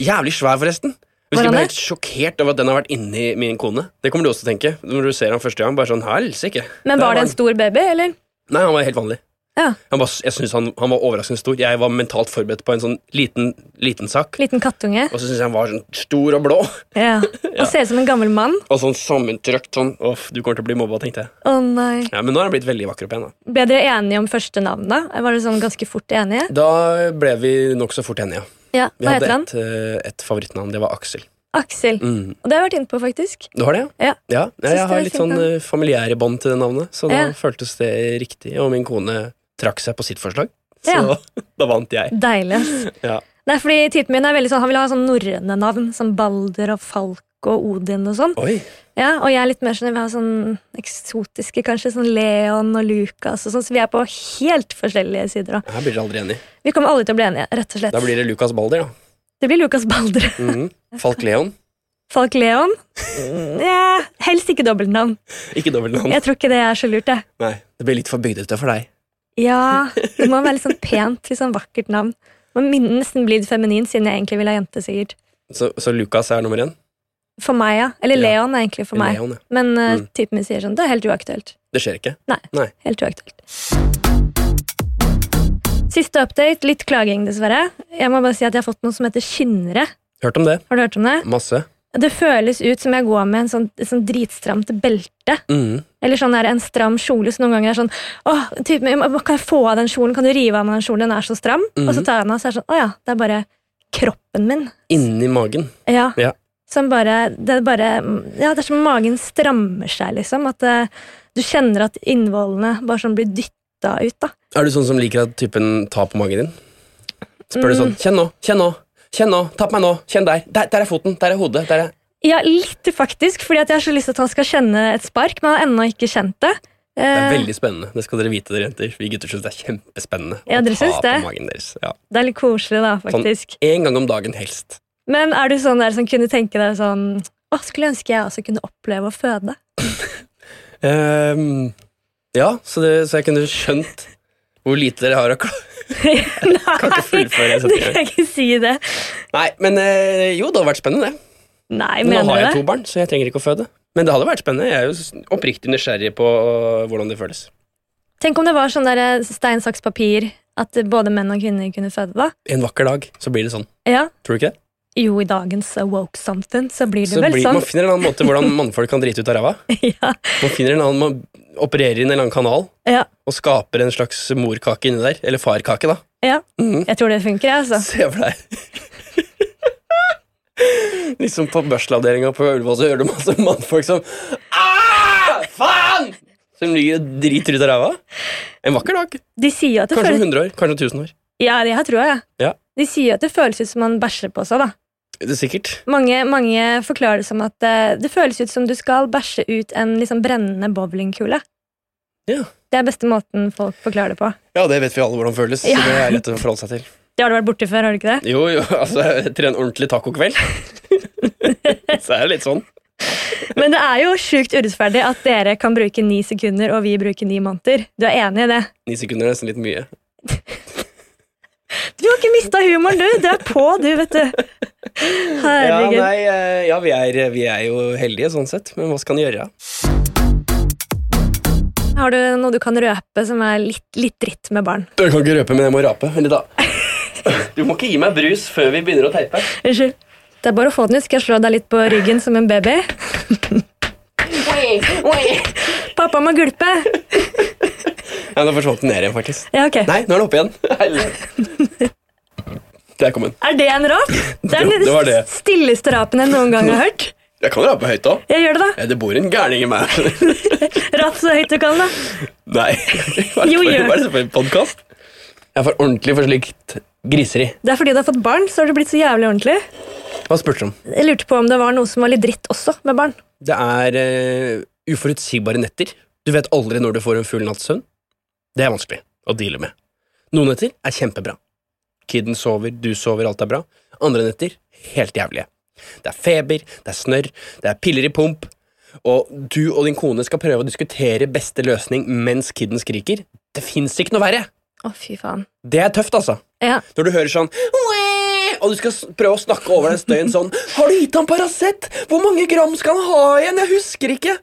S2: Jævlig svær, forresten. Hvis
S3: Var
S2: jeg
S3: han
S2: ble
S3: det?
S2: helt sjokkert over at den har vært inni min kone. Det kommer du også til å tenke når du ser han første gang. Bare sånn, helsike.
S3: Men
S2: Der
S3: var det en
S2: han.
S3: stor baby, eller?
S2: Nei, han var helt vanlig.
S3: Ja.
S2: Han var, jeg synes han, han var overraskende stor. Jeg var mentalt forberedt på en sånn liten, liten sak.
S3: Liten kattunge?
S2: Og så syns jeg han var sånn stor og blå.
S3: Ja.
S2: <laughs>
S3: Og ser ut som en gammel mann?
S2: Og sånn sammentrøkt sånn. Uff, du kommer til å bli mobba, tenkte jeg.
S3: Å nei.
S2: Ja, Men nå har han blitt veldig vakker og pen. Da
S3: Ble dere enige om første navn, da? Var dere sånn ganske fort enige?
S2: Da ble vi nokså fort enige. ja.
S3: Ja,
S2: Vi
S3: Hva
S2: hadde
S3: heter han?
S2: et, eh, et favorittnavn. Det var Aksel.
S3: Aksel.
S2: Mm.
S3: Og det har jeg vært inne på, faktisk.
S2: Du har det, ja?
S3: Ja.
S2: Ja,
S3: Synes
S2: jeg
S3: det
S2: har
S3: er
S2: litt
S3: fint
S2: sånn
S3: navn.
S2: eh, familiære bånd til det navnet, så da
S3: Ja.
S2: føltes det riktig. Og min kone trakk seg på sitt forslag, så
S3: Ja.
S2: <laughs> da vant jeg. <laughs>
S3: Deilig. ass.
S2: Ja.
S3: Nei, fordi typen min er veldig sånn, han vil ha sånn norrøne navn, som Balder og Falk og Odin og sånn.
S2: Oi,
S3: Ja, og jeg er litt mer sånn, jeg vil ha sånn eksotiske, kanskje, sånn Leon og Lukas og sånn, så vi er på helt forskjellige sider da.
S2: her blir dere aldri enige.
S3: Vi kommer aldri til å bli enige, rett og slett.
S2: Da blir det Lukas Balder, da.
S3: Det blir Lukas Balder.
S2: Mhm. Falk Leon.
S3: Falk Leon? Nja, helst ikke dobbeltnavn.
S2: Ikke dobbeltnavn.
S3: Jeg tror ikke det er så lurt. Jeg.
S2: Nei, det blir litt for bygdete for deg.
S3: Ja, Det må være litt sånn pent, litt sånn vakkert navn. Må min- nesten bli feminin, siden jeg egentlig vil ha jente. sikkert.
S2: Så, så Lukas er nummer én?
S3: For meg, ja. Eller
S2: Ja.
S3: Leon, er egentlig for meg.
S2: Leon, ja.
S3: Men eh,
S2: Mm.
S3: typen min sier sånn, det er helt uaktuelt.
S2: Det skjer ikke?
S3: Nei,
S2: Nei.
S3: helt uaktuelt. Siste update, litt klaging dessverre. Jeg må bare si at jeg har fått noe som heter kynnere.
S2: Hørt om det?
S3: Har du hørt om det?
S2: Masse.
S3: Det føles ut som jeg går med en sånn, et sånn dritstramt belte.
S2: Mhm.
S3: Eller sånn der, en stram kjole som noen ganger er sånn Åh, typ, men kan jeg få av den kjolen? Kan du rive av meg den kjolen? Den er så stram.
S2: Mm.
S3: Og så tar jeg den av, så er det sånn Å ja, det er bare kroppen min.
S2: Inni magen.
S3: Ja.
S2: Ja.
S3: Som bare Det er bare Ja, det er som magen strammer seg, liksom. At eh, du kjenner at innvollene bare sånn blir dytta ut, da.
S2: Er du sånn som liker at typen tar på magen din? Spør du sånn
S3: Mm.
S2: Kjenn nå, kjenn nå, kjenn nå, ta på meg nå, kjenn der. Der, der er foten, der er hodet, der er
S3: Ja, litt faktisk, fordi at jeg har så lyst til at han skal kjenne et spark, men han har ennå ikke kjent det.
S2: Det er
S3: Eh,
S2: veldig spennende. Det skal dere vite, dere jenter. Vi gutter syns det er kjempespennende
S3: Ja, dere
S2: å ta
S3: syns
S2: på
S3: det?
S2: magen deres. Ja.
S3: det er litt koselig, da,
S2: Sånn
S3: faktisk.
S2: En gang om dagen helst.
S3: Men er du sånn der som kunne tenke deg sånn Å, skulle ønske jeg også kunne oppleve
S2: <laughs>
S3: å føde.
S2: Ehm, ja, så, det, så jeg kunne skjønt hvor lite dere har å klare.
S3: Nei,
S2: ikke fullføre en
S3: du
S2: setning.
S3: kan ikke si det.
S2: <laughs> Nei, men eh, jo, det hadde vært spennende, det.
S3: Nei,
S2: Men nå
S3: mener
S2: har
S3: du
S2: jeg
S3: det?
S2: to barn, så jeg trenger ikke å føde. Men det hadde vært spennende. Jeg er jo s- oppriktig nysgjerrig på øh, hvordan det føles.
S3: Tenk om det var sånn der eh, stein, saks, papir, at både menn og kvinner kunne føde, da.
S2: En vakker dag så blir det sånn.
S3: Ja.
S2: Tror du ikke det?
S3: Jo, i dagens eh, woke something, så blir det
S2: Så
S3: vel
S2: blir,
S3: sånn.
S2: Man finner en annen måte hvordan mannfolk kan drite ut av ræva.
S3: <laughs> ja.
S2: Man finner en annen, man opererer inn en eller annen kanal
S3: Ja.
S2: og skaper en slags morkake inni der. Eller farkake, da.
S3: ja.
S2: Mhm.
S3: Jeg tror det funker, jeg,
S2: <laughs>
S3: altså.
S2: Se for deg Liksom på børslavdelinga på Ullevål så hører du masse mannfolk som «Ah, Faen! Som ligger og driter ut av ræva. En vakker dag.
S3: De sier jo at det
S2: Kanskje om
S3: føles
S2: 100 år. Kanskje om 1000 år.
S3: Ja, det her tror jeg.
S2: Ja.
S3: De sier jo at det føles ut som man bæsjer på seg, da.
S2: Det er sikkert.
S3: Mange, mange forklarer det som at eh, det føles ut som du skal bæsje ut en liksom brennende bowlingkule.
S2: Ja.
S3: Det er beste måten folk forklarer det på.
S2: Ja, det vet vi alle hvordan føles.
S3: Ja.
S2: Så det er lett å forholde seg til.
S3: Det har du vært borti før, har du ikke det? <laughs>
S2: Jo, jo, <laughs> altså etter en ordentlig tacokveld så er det litt sånn.
S3: Men det er jo sjukt urettferdig at dere kan bruke ni sekunder, og vi bruker ni måneder. Du er enig i det?
S2: Ni sekunder er nesten litt mye.
S3: Du har ikke mista humoren, du! Du er på, du, vet du.
S2: Ja,
S3: Herregud.
S2: nei, eh, ja vi, er, vi er jo heldige sånn sett, men hva skal en gjøre?
S3: Har du noe du kan røpe som er litt, litt dritt med barn?
S2: Dere kan ikke røpe, men jeg må rape. Eller da. <laughs> Du må ikke gi meg brus før vi begynner å teipe.
S3: Unnskyld. Det er bare å få den ut. Skal jeg slå deg litt på ryggen som en baby? Pappa må gulpe!
S2: Ja, Nå forsvant den ned igjen, faktisk.
S3: Ja, ok.
S2: Nei, nå er den oppe
S3: <laughs>
S2: igjen. Helvete. Der kom den.
S3: Er det en rap? Det er den
S2: Det var det.
S3: stilleste rapen jeg noen gang har hørt.
S2: Jeg kan rape høyt òg.
S3: Jeg gjør det, da.
S2: Det bor en gærning i meg. <laughs>
S3: Rap så høyt du kan, da.
S2: Nei. Hva
S3: Jo, gjør.
S2: er det for en podkast? Jeg får ordentlig for slikt griseri.
S3: Det er fordi du har fått barn, så har du blitt så jævlig ordentlig.
S2: Hva spurte du om?
S3: Jeg lurte på om det var noe som var litt dritt også med barn.
S2: Det er eh, uforutsigbare netter. Du vet aldri når du får en full natts søvn. Det er vanskelig å deale med. Noen netter er kjempebra. Kiden sover, du sover, alt er bra. Andre netter helt jævlige. Det er feber, det er snørr, det er piller i pump. Og du og din kone skal prøve å diskutere beste løsning mens kiden skriker. Det fins ikke noe verre!
S3: Å, fy faen.
S2: Det er tøft, altså.
S3: Ja.
S2: Når du hører sånn «Wee!» og du skal s- prøve å snakke over den støyen sånn Har du gitt ham Paracet? Hvor mange gram skal han ha igjen? Jeg husker ikke.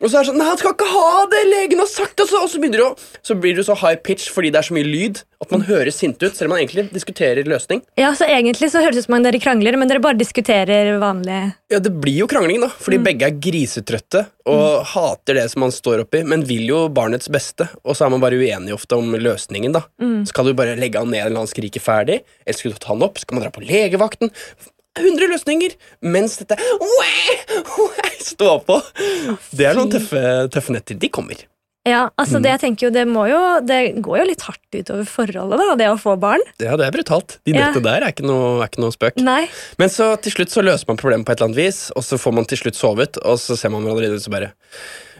S2: Og så er det sånn Nei, han skal ikke ha det! Legen har sagt det! Og så, og så, begynner du å, så blir du så high pitch fordi det er så mye lyd at man høres sint ut, selv om man egentlig diskuterer løsning.
S3: ja, så egentlig så høres det ut som om dere krangler, men dere bare diskuterer vanlig
S2: Ja, Det blir jo krangling, da,
S3: Mm.
S2: fordi begge er grisetrøtte og hater det som man står oppi, men vil jo barnets beste, og så er man bare uenige ofte om løsningen, da.
S3: Mm.
S2: Skal du bare legge han ned eller la han skrike ferdig, eller skal du ta han opp, skal man dra på legevakten? 100 løsninger, mens dette «Wæ! Wæ!» stå på. Det er noen tøffe, tøffe netter. De kommer.
S3: Ja, altså det jeg tenker jo, det må jo Det går jo litt hardt utover forholdet, da, det å få barn.
S2: Ja, det er brutalt. De
S3: Ja.
S2: nettene der er ikke noe, er ikke noe spøk.
S3: Nei.
S2: Men så til slutt så løser man problemet på et eller annet vis, og så får man til slutt sovet, og så ser man hverandre og så bare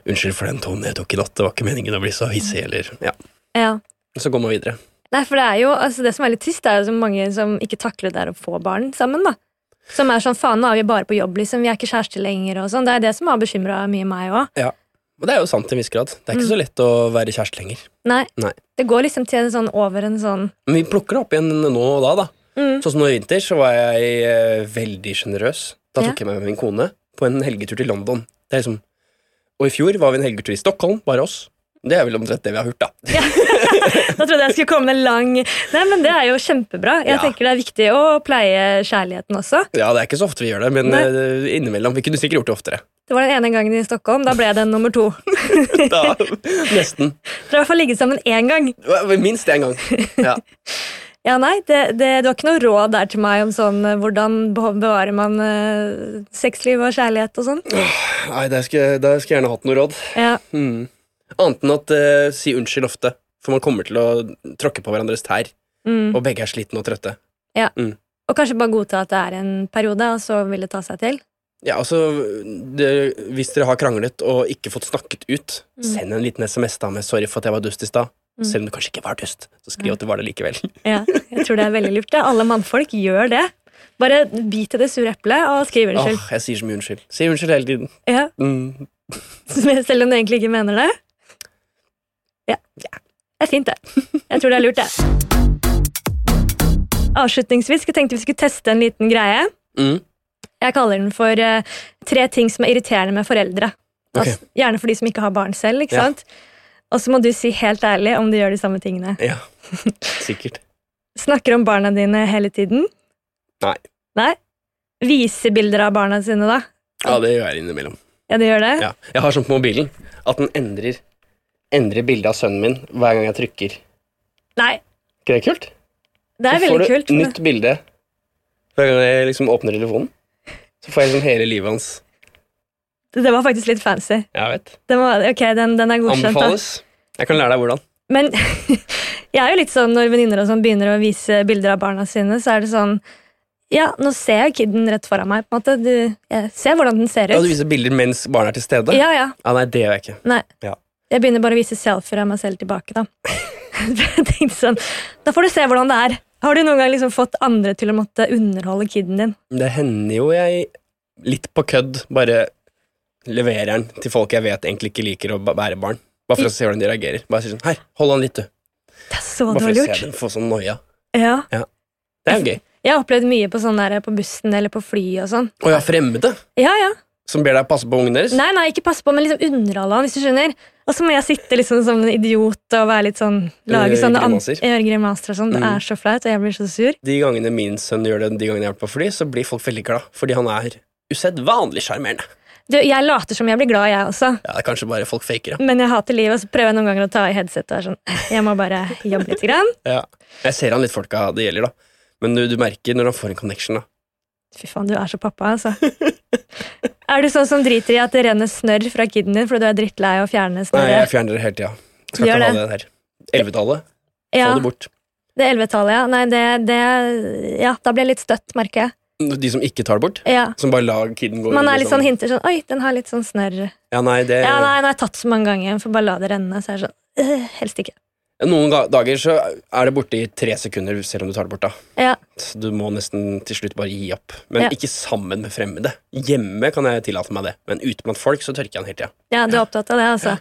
S2: Unnskyld for den tonen jeg tok i natt, det var ikke meningen å bli så hissig, eller Ja.
S3: Ja.
S2: Så går man videre.
S3: Nei, for det er jo altså Det som er litt trist, er jo så mange som ikke takler det der å få barn sammen, da. Som er sånn faen, nå er vi bare på jobb, liksom. Vi er ikke kjærester lenger og sånn. Det er det som har bekymra mye meg òg.
S2: Ja. Og det er jo sant til en viss grad. Det er ikke så
S3: Mm.
S2: lett å være kjæreste lenger.
S3: Nei.
S2: Nei.
S3: Det går liksom til en sånn over en sånn
S2: Men vi plukker det opp igjen nå og da. da.
S3: Mm.
S2: Sånn som nå i vinter, så var jeg eh, veldig sjenerøs. Da tok
S3: Ja.
S2: jeg meg med min kone på en helgetur til London. Det er liksom... Og i fjor var vi en helgetur i Stockholm, bare oss. Det er vel omtrent det vi har hørt, da. <laughs>
S3: <laughs> Da trodde jeg skulle komme en lang Nei, men det er jo kjempebra. Jeg
S2: Ja.
S3: tenker det er viktig å pleie kjærligheten også.
S2: Ja, det er ikke så ofte vi gjør det, men
S3: Nei.
S2: eh, innimellom. Vi kunne sikkert gjort det oftere.
S3: Det var den ene gangen i Stockholm. Da ble den nummer to. <laughs>
S2: <laughs>
S3: Dere
S2: Da, nesten.
S3: har i hvert fall ligget sammen én gang.
S2: Minst én gang. Ja.
S3: Ja, nei, det, det, Du har ikke noe råd der til meg om sånn eh, hvordan be- bevarer man eh, sexliv og kjærlighet og sånn?
S2: Nei, der skulle jeg- der skulle jeg gjerne hatt noe råd.
S3: Ja,
S2: Mm. Annet enn at eh, si unnskyld ofte, for man kommer til å tråkke på hverandres tær.
S3: mm.
S2: Og begge er slitne og trøtte.
S3: Og kanskje bare godta at det er en periode, og så vil det ta seg til.
S2: Ja, altså, det, Hvis dere har kranglet og ikke fått snakket ut,
S3: Mm.
S2: send en liten SMS da med 'sorry for at jeg var dust i stad'. Selv om du kanskje ikke var dust, så
S3: Mm.
S2: skriv at du var det likevel.
S3: Ja, jeg tror det er veldig lurt. det. Alle mannfolk gjør det. Bare bit i det sure eplet og skriv
S2: Åh,
S3: unnskyld.
S2: jeg sier så mye unnskyld. Si unnskyld hele tiden.
S3: Ja,
S2: Mm.
S3: <laughs> selv om du egentlig ikke mener det. Ja. Det er fint, det. Jeg tror det er lurt, det. Avslutningsvis jeg tenkte vi skulle teste en liten greie.
S2: Mm.
S3: Jeg kaller den for eh, tre ting som er irriterende med foreldre.
S2: Ok.
S3: Altså, gjerne for de som ikke har barn selv. ikke
S2: Ja.
S3: sant? Og så må du si helt ærlig om de gjør de samme tingene.
S2: Ja, sikkert.
S3: Snakker om barna dine hele tiden?
S2: Nei.
S3: Nei? Viser bilder av barna sine, da?
S2: Ja, det gjør jeg innimellom.
S3: Ja, det gjør det?
S2: <laughs> Ja. Jeg har sånn på mobilen at den endrer, endrer bildet av sønnen min hver gang jeg trykker.
S3: Nei,
S2: Ikke det kult?
S3: det er
S2: så får
S3: veldig
S2: du
S3: kult. men-
S2: nytt bilde hver gang jeg liksom åpner telefonen. Så får jeg liksom hele livet hans.
S3: Det var faktisk litt fancy.
S2: Jeg vet.
S3: Den var, ok, den, den er godkjent. da.
S2: Anbefales. Jeg kan lære deg hvordan.
S3: Men <laughs> jeg er jo litt sånn når venninner og sånn begynner å vise bilder av barna sine, så er det sånn Ja, nå ser jeg kiden rett foran meg. på en måte. Du, jeg ser hvordan den ser ut.
S2: Ja, du viser bilder mens barnet er til stede?
S3: Ja, ja.
S2: Ah, nei, det gjør jeg ikke.
S3: Nei.
S2: Ja.
S3: Jeg begynner bare å vise selfier av meg selv tilbake, da. <laughs> jeg tenkte sånn, Da får du se hvordan det er. Har du noen gang liksom fått andre til å måtte underholde kiden din?
S2: Det hender jo jeg litt på kødd bare leverer den til folk jeg vet egentlig ikke liker å ba- bære barn. Bare for å se hvordan de reagerer. Bare sier sånn Her, hold han litt, du.
S3: Det er så
S2: Bare for
S3: dårlig
S2: å se
S3: gjort.
S2: dem få sånn noia.
S3: Ja.
S2: Det er jo gøy.
S3: Jeg har opplevd mye på sånn der på bussen eller på fly og sånn.
S2: Å ja, fremmede
S3: Ja, ja.
S2: som ber deg passe på ungen deres?
S3: Nei, nei, ikke pass på, men liksom underholde han, hvis du skjønner. Og så må jeg sitte liksom som en idiot og være litt sånn Lage
S2: Gjøre
S3: sånne an-
S2: grimaser.
S3: gjøre grimaser og sånn. Det
S2: Eh, Mm.
S3: er så flaut, og jeg blir så sur.
S2: De gangene min sønn gjør det, de gangene jeg har vært på fly, så blir folk veldig glad, fordi han er usedvanlig sjarmerende.
S3: Du, jeg later som jeg blir glad, jeg også.
S2: Ja, det er kanskje bare folk faker, ja.
S3: Men jeg hater livet, og så prøver jeg noen ganger å ta i headsetet. og er Sånn. Jeg må bare jobbe litt. Grann.
S2: ja. Jeg ser han litt folka det gjelder, da. Men du, du merker når han får en connection, da.
S3: Fy faen, du er så
S2: <laughs>
S3: pappa, altså. Er du sånn som driter i at det renner snørr fra kiden din fordi du er drittlei av å fjerne
S2: Nei, jeg
S3: snørret?
S2: fjerner det hele tida. Skal
S3: Gjør
S2: ikke ha det
S3: det.
S2: der. Ellevetallet, få
S3: Ja,
S2: det bort.
S3: det ellevetallet, ja. Nei, det, det Ja, da blir jeg litt støtt, merker jeg.
S2: De som ikke tar det bort,
S3: Ja.
S2: som bare lar kiden gå
S3: Man
S2: under
S3: er litt sånn hinter sånn Oi, den har litt sånn snørr.
S2: Ja, nei, det
S3: Ja, nei, den har jeg tatt så mange ganger. Jeg får bare la det renne. Så er det sånn øh, Helst ikke.
S2: Noen ga- dager så er det borte i tre sekunder, selv om du tar det bort, da.
S3: Ja.
S2: Så Du må nesten til slutt bare gi opp. Men
S3: Ja.
S2: ikke sammen med fremmede. Hjemme kan jeg tillate meg det, men ute blant folk så tørker jeg den hele tida.
S3: ja, du er opptatt av det, altså?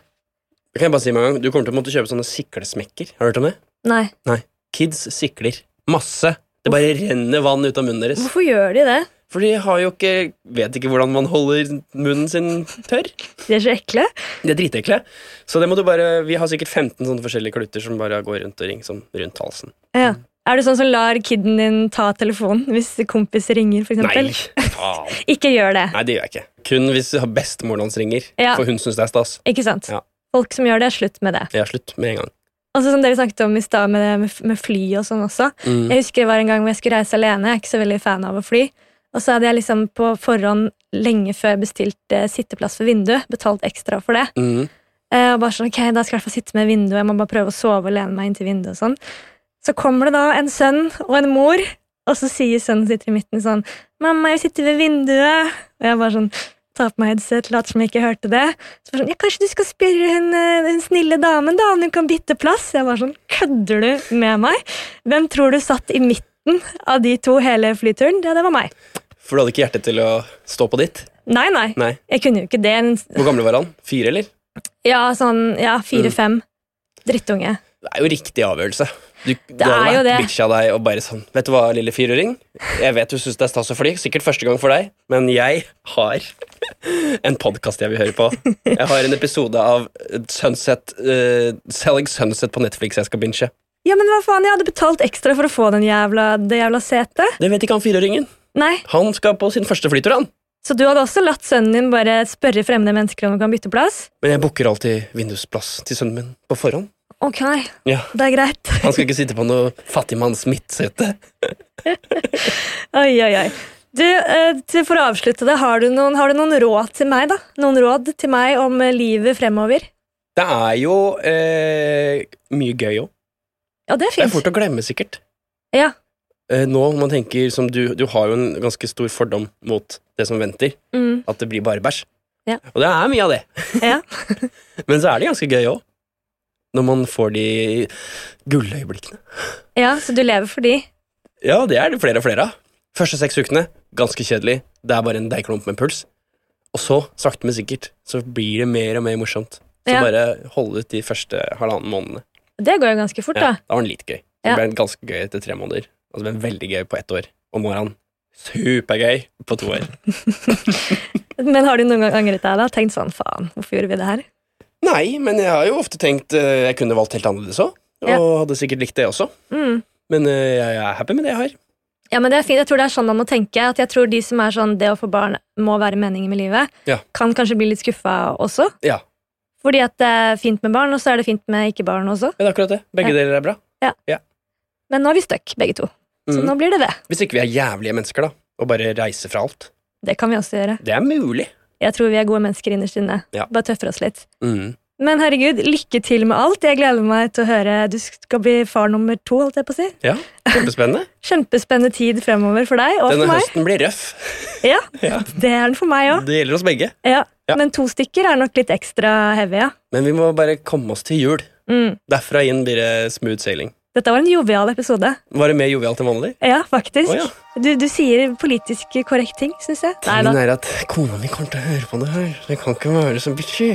S2: Det kan jeg bare si med en gang. Du kommer til å måtte kjøpe sånne siklesmekker. Har du hørt om det?
S3: Nei.
S2: Nei. Kids sikler. Masse. Det bare renner vann ut av munnen deres.
S3: Hvorfor gjør de det?
S2: For de har jo ikke Vet ikke hvordan man holder munnen sin tørr.
S3: De er så ekle.
S2: De er dritekle. Så det må du bare Vi har sikkert 15 sånne forskjellige klutter som bare går rundt og ringer sånn rundt halsen.
S3: Ja. Er du sånn som lar kiden din ta telefonen hvis kompis ringer, for
S2: Nei,
S3: eksempel? <laughs>
S2: faen.
S3: Ikke gjør det.
S2: Nei, det gjør jeg ikke. Kun hvis bestemoren hans ringer.
S3: Ja.
S2: For hun syns det er stas.
S3: Ikke sant?
S2: Ja.
S3: Folk som gjør det, slutt med det.
S2: Jeg har slutt med en gang.
S3: Altså som dere snakket om i stad med, med, med fly og sånn også. Jeg husker det var en gang hvor jeg skulle reise alene. Jeg er ikke så veldig fan av å fly. Og så hadde jeg liksom på forhånd lenge før bestilt eh, sitteplass ved vindu. Betalt ekstra for det.
S2: Mm.
S3: Eh, og bare sånn, ok, da skal jeg i hvert fall sitte med vinduet. Jeg må bare prøve å sove og lene meg inntil vinduet og sånn. Så kommer det da en sønn og en mor, og så sier sønnen som sitter i midten sånn, mamma, jeg sitter ved vinduet. Og jeg bare sånn, tar på meg headset, later som jeg ikke hørte det. Så bare sånn, ja, kanskje du skal spørre hun, eh, den snille damen da, om hun kan bytte plass. Jeg bare sånn, kødder du med meg? Hvem tror du satt i midten av de to hele flyturen? Ja, det var meg.
S2: For du hadde ikke hjerte til å stå på ditt?
S3: Nei, nei,
S2: Nei.
S3: Jeg kunne jo ikke det. En-
S2: Hvor gamle var han? Fire, eller?
S3: Ja, sånn, ja, fire-fem. Drittunge.
S2: Det er jo riktig avgjørelse. Du, du
S3: er
S2: hadde
S3: jo
S2: vært
S3: det.
S2: bitch av deg og bare sånn Vet du hva, lille firøring? Jeg vet du syns det er stas å fly, sikkert første gang for deg, men jeg har <laughs> en podkast jeg vil høre på. Jeg har en episode av Sunset eh, Selling Sunset på Netflix jeg skal binche.
S3: Ja, men hva faen, jeg hadde betalt ekstra for å få den jævla, det jævla setet.
S2: Det vet ikke han firøringen.
S3: Nei,
S2: Han skal på sin første flytur, han.
S3: Så du hadde også latt sønnen din bare spørre fremmede mennesker om de kan bytte plass?
S2: Men jeg booker alltid vindusplass til sønnen min på forhånd.
S3: Ok,
S2: Ja.
S3: det er greit.
S2: Han skal ikke sitte på noe fattigmanns midtsete.
S3: Oi, oi, oi. Du, eh, til- for å avslutte det, har du, noen, har du noen råd til meg, da? Noen råd til meg om eh, livet fremover?
S2: Det er jo eh, mye gøy òg.
S3: Ja, det er
S2: Det er
S3: fint.
S2: fort å glemme, sikkert.
S3: Ja.
S2: Eh, nå når man tenker som du, du har jo en ganske stor fordom mot det som venter,
S3: Mm,
S2: at det blir bare bæsj.
S3: Ja.
S2: Og det er mye av det, <laughs>
S3: ja.
S2: men så er det ganske gøy òg. Når man får de gulløyeblikkene.
S3: ja, så du lever for de?
S2: Ja, det er det flere og flere av. Første seks ukene, ganske kjedelig. Det er bare en deigklump med puls. Og så, sakte, men sikkert, så blir det mer og mer morsomt. Så
S3: Ja.
S2: bare holde ut de første halvannen månedene.
S3: Det går jo ganske fort,
S2: Ja,
S3: da.
S2: da var den litt gøy. Det
S3: Ja.
S2: ble ganske gøy etter tre måneder. Og så ble den veldig gøy på ett år. Og nå er han supergøy på to år.
S3: <laughs> Men har du noen gang angret deg, da? Tenkt sånn, faen, hvorfor gjorde vi det her?
S2: Nei, men jeg har jo ofte tenkt eh, jeg kunne valgt helt annerledes òg. Og
S3: Ja.
S2: hadde sikkert likt det også.
S3: Mm.
S2: Men eh, jeg er happy med det jeg har.
S3: Ja, men det er fint. Jeg tror det er sånn man må tenke. At jeg tror de som er sånn, det å få barn må være meningen med livet,
S2: Ja.
S3: kan kanskje bli litt skuffa også.
S2: Ja,
S3: Fordi at det er fint med barn, og så er det fint med ikke-barn også.
S2: det er akkurat det. Begge deler er bra.
S3: Men nå er vi stuck, begge to. Så
S2: Mhm.
S3: nå blir det det.
S2: Hvis ikke vi er jævlige mennesker, da, og bare reiser fra alt.
S3: Det kan vi også gjøre.
S2: Det er mulig.
S3: Jeg tror vi er gode mennesker innerst inne.
S2: Ja.
S3: Bare tøffer oss litt.
S2: Mm.
S3: Men herregud, lykke til med alt. Jeg gleder meg til å høre Du skal bli far nummer to, holdt jeg på å si.
S2: Ja,
S3: <laughs>
S2: Kjempespennende.
S3: Kjempespennende tid fremover for deg og
S2: Denne
S3: for meg.
S2: høsten blir røff.
S3: Ja,
S2: Ja.
S3: Det er den for meg
S2: <laughs>
S3: òg.
S2: Det gjelder oss begge.
S3: Ja.
S2: Ja.
S3: Men to stykker er nok litt ekstra heavy, ja.
S2: Men vi må bare komme oss til jul.
S3: Mm.
S2: Derfra inn blir det smooth sailing.
S3: Dette var en jovial episode.
S2: Var det mer jovialt enn vanlig?
S3: Ja, faktisk.
S2: Å, ja.
S3: Du, du sier politisk korrekt ting, syns jeg. Nei da.
S2: Tingen er at kona mi kommer til å høre på det her. Jeg kan ikke være så bitchy.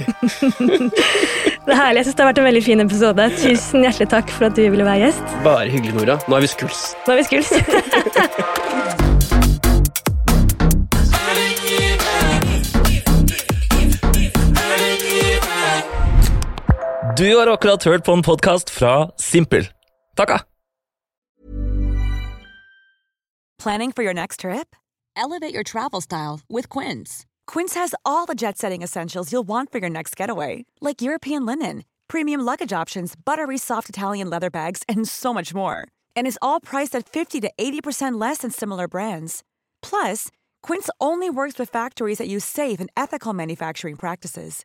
S3: Det er herlig. Jeg syns det har vært en veldig fin episode. Tusen hjertelig takk for at du ville være gjest.
S2: Bare hyggelig, Nora. Nå er vi skuls.
S3: Nå er vi skuls.
S1: Du har akkurat hørt på en podkast fra Simpel. ah. Takka!
S4: Planning for your next trip? Elevate your travel style with Quince. Quince has all the jet setting essentials you'll want for your next getaway, like European linen, premium luggage options, buttery soft Italian leather bags, and so much more. And is all priced at 50 to 80% less than similar brands. Plus, Quince only works with factories that use safe and ethical manufacturing practices.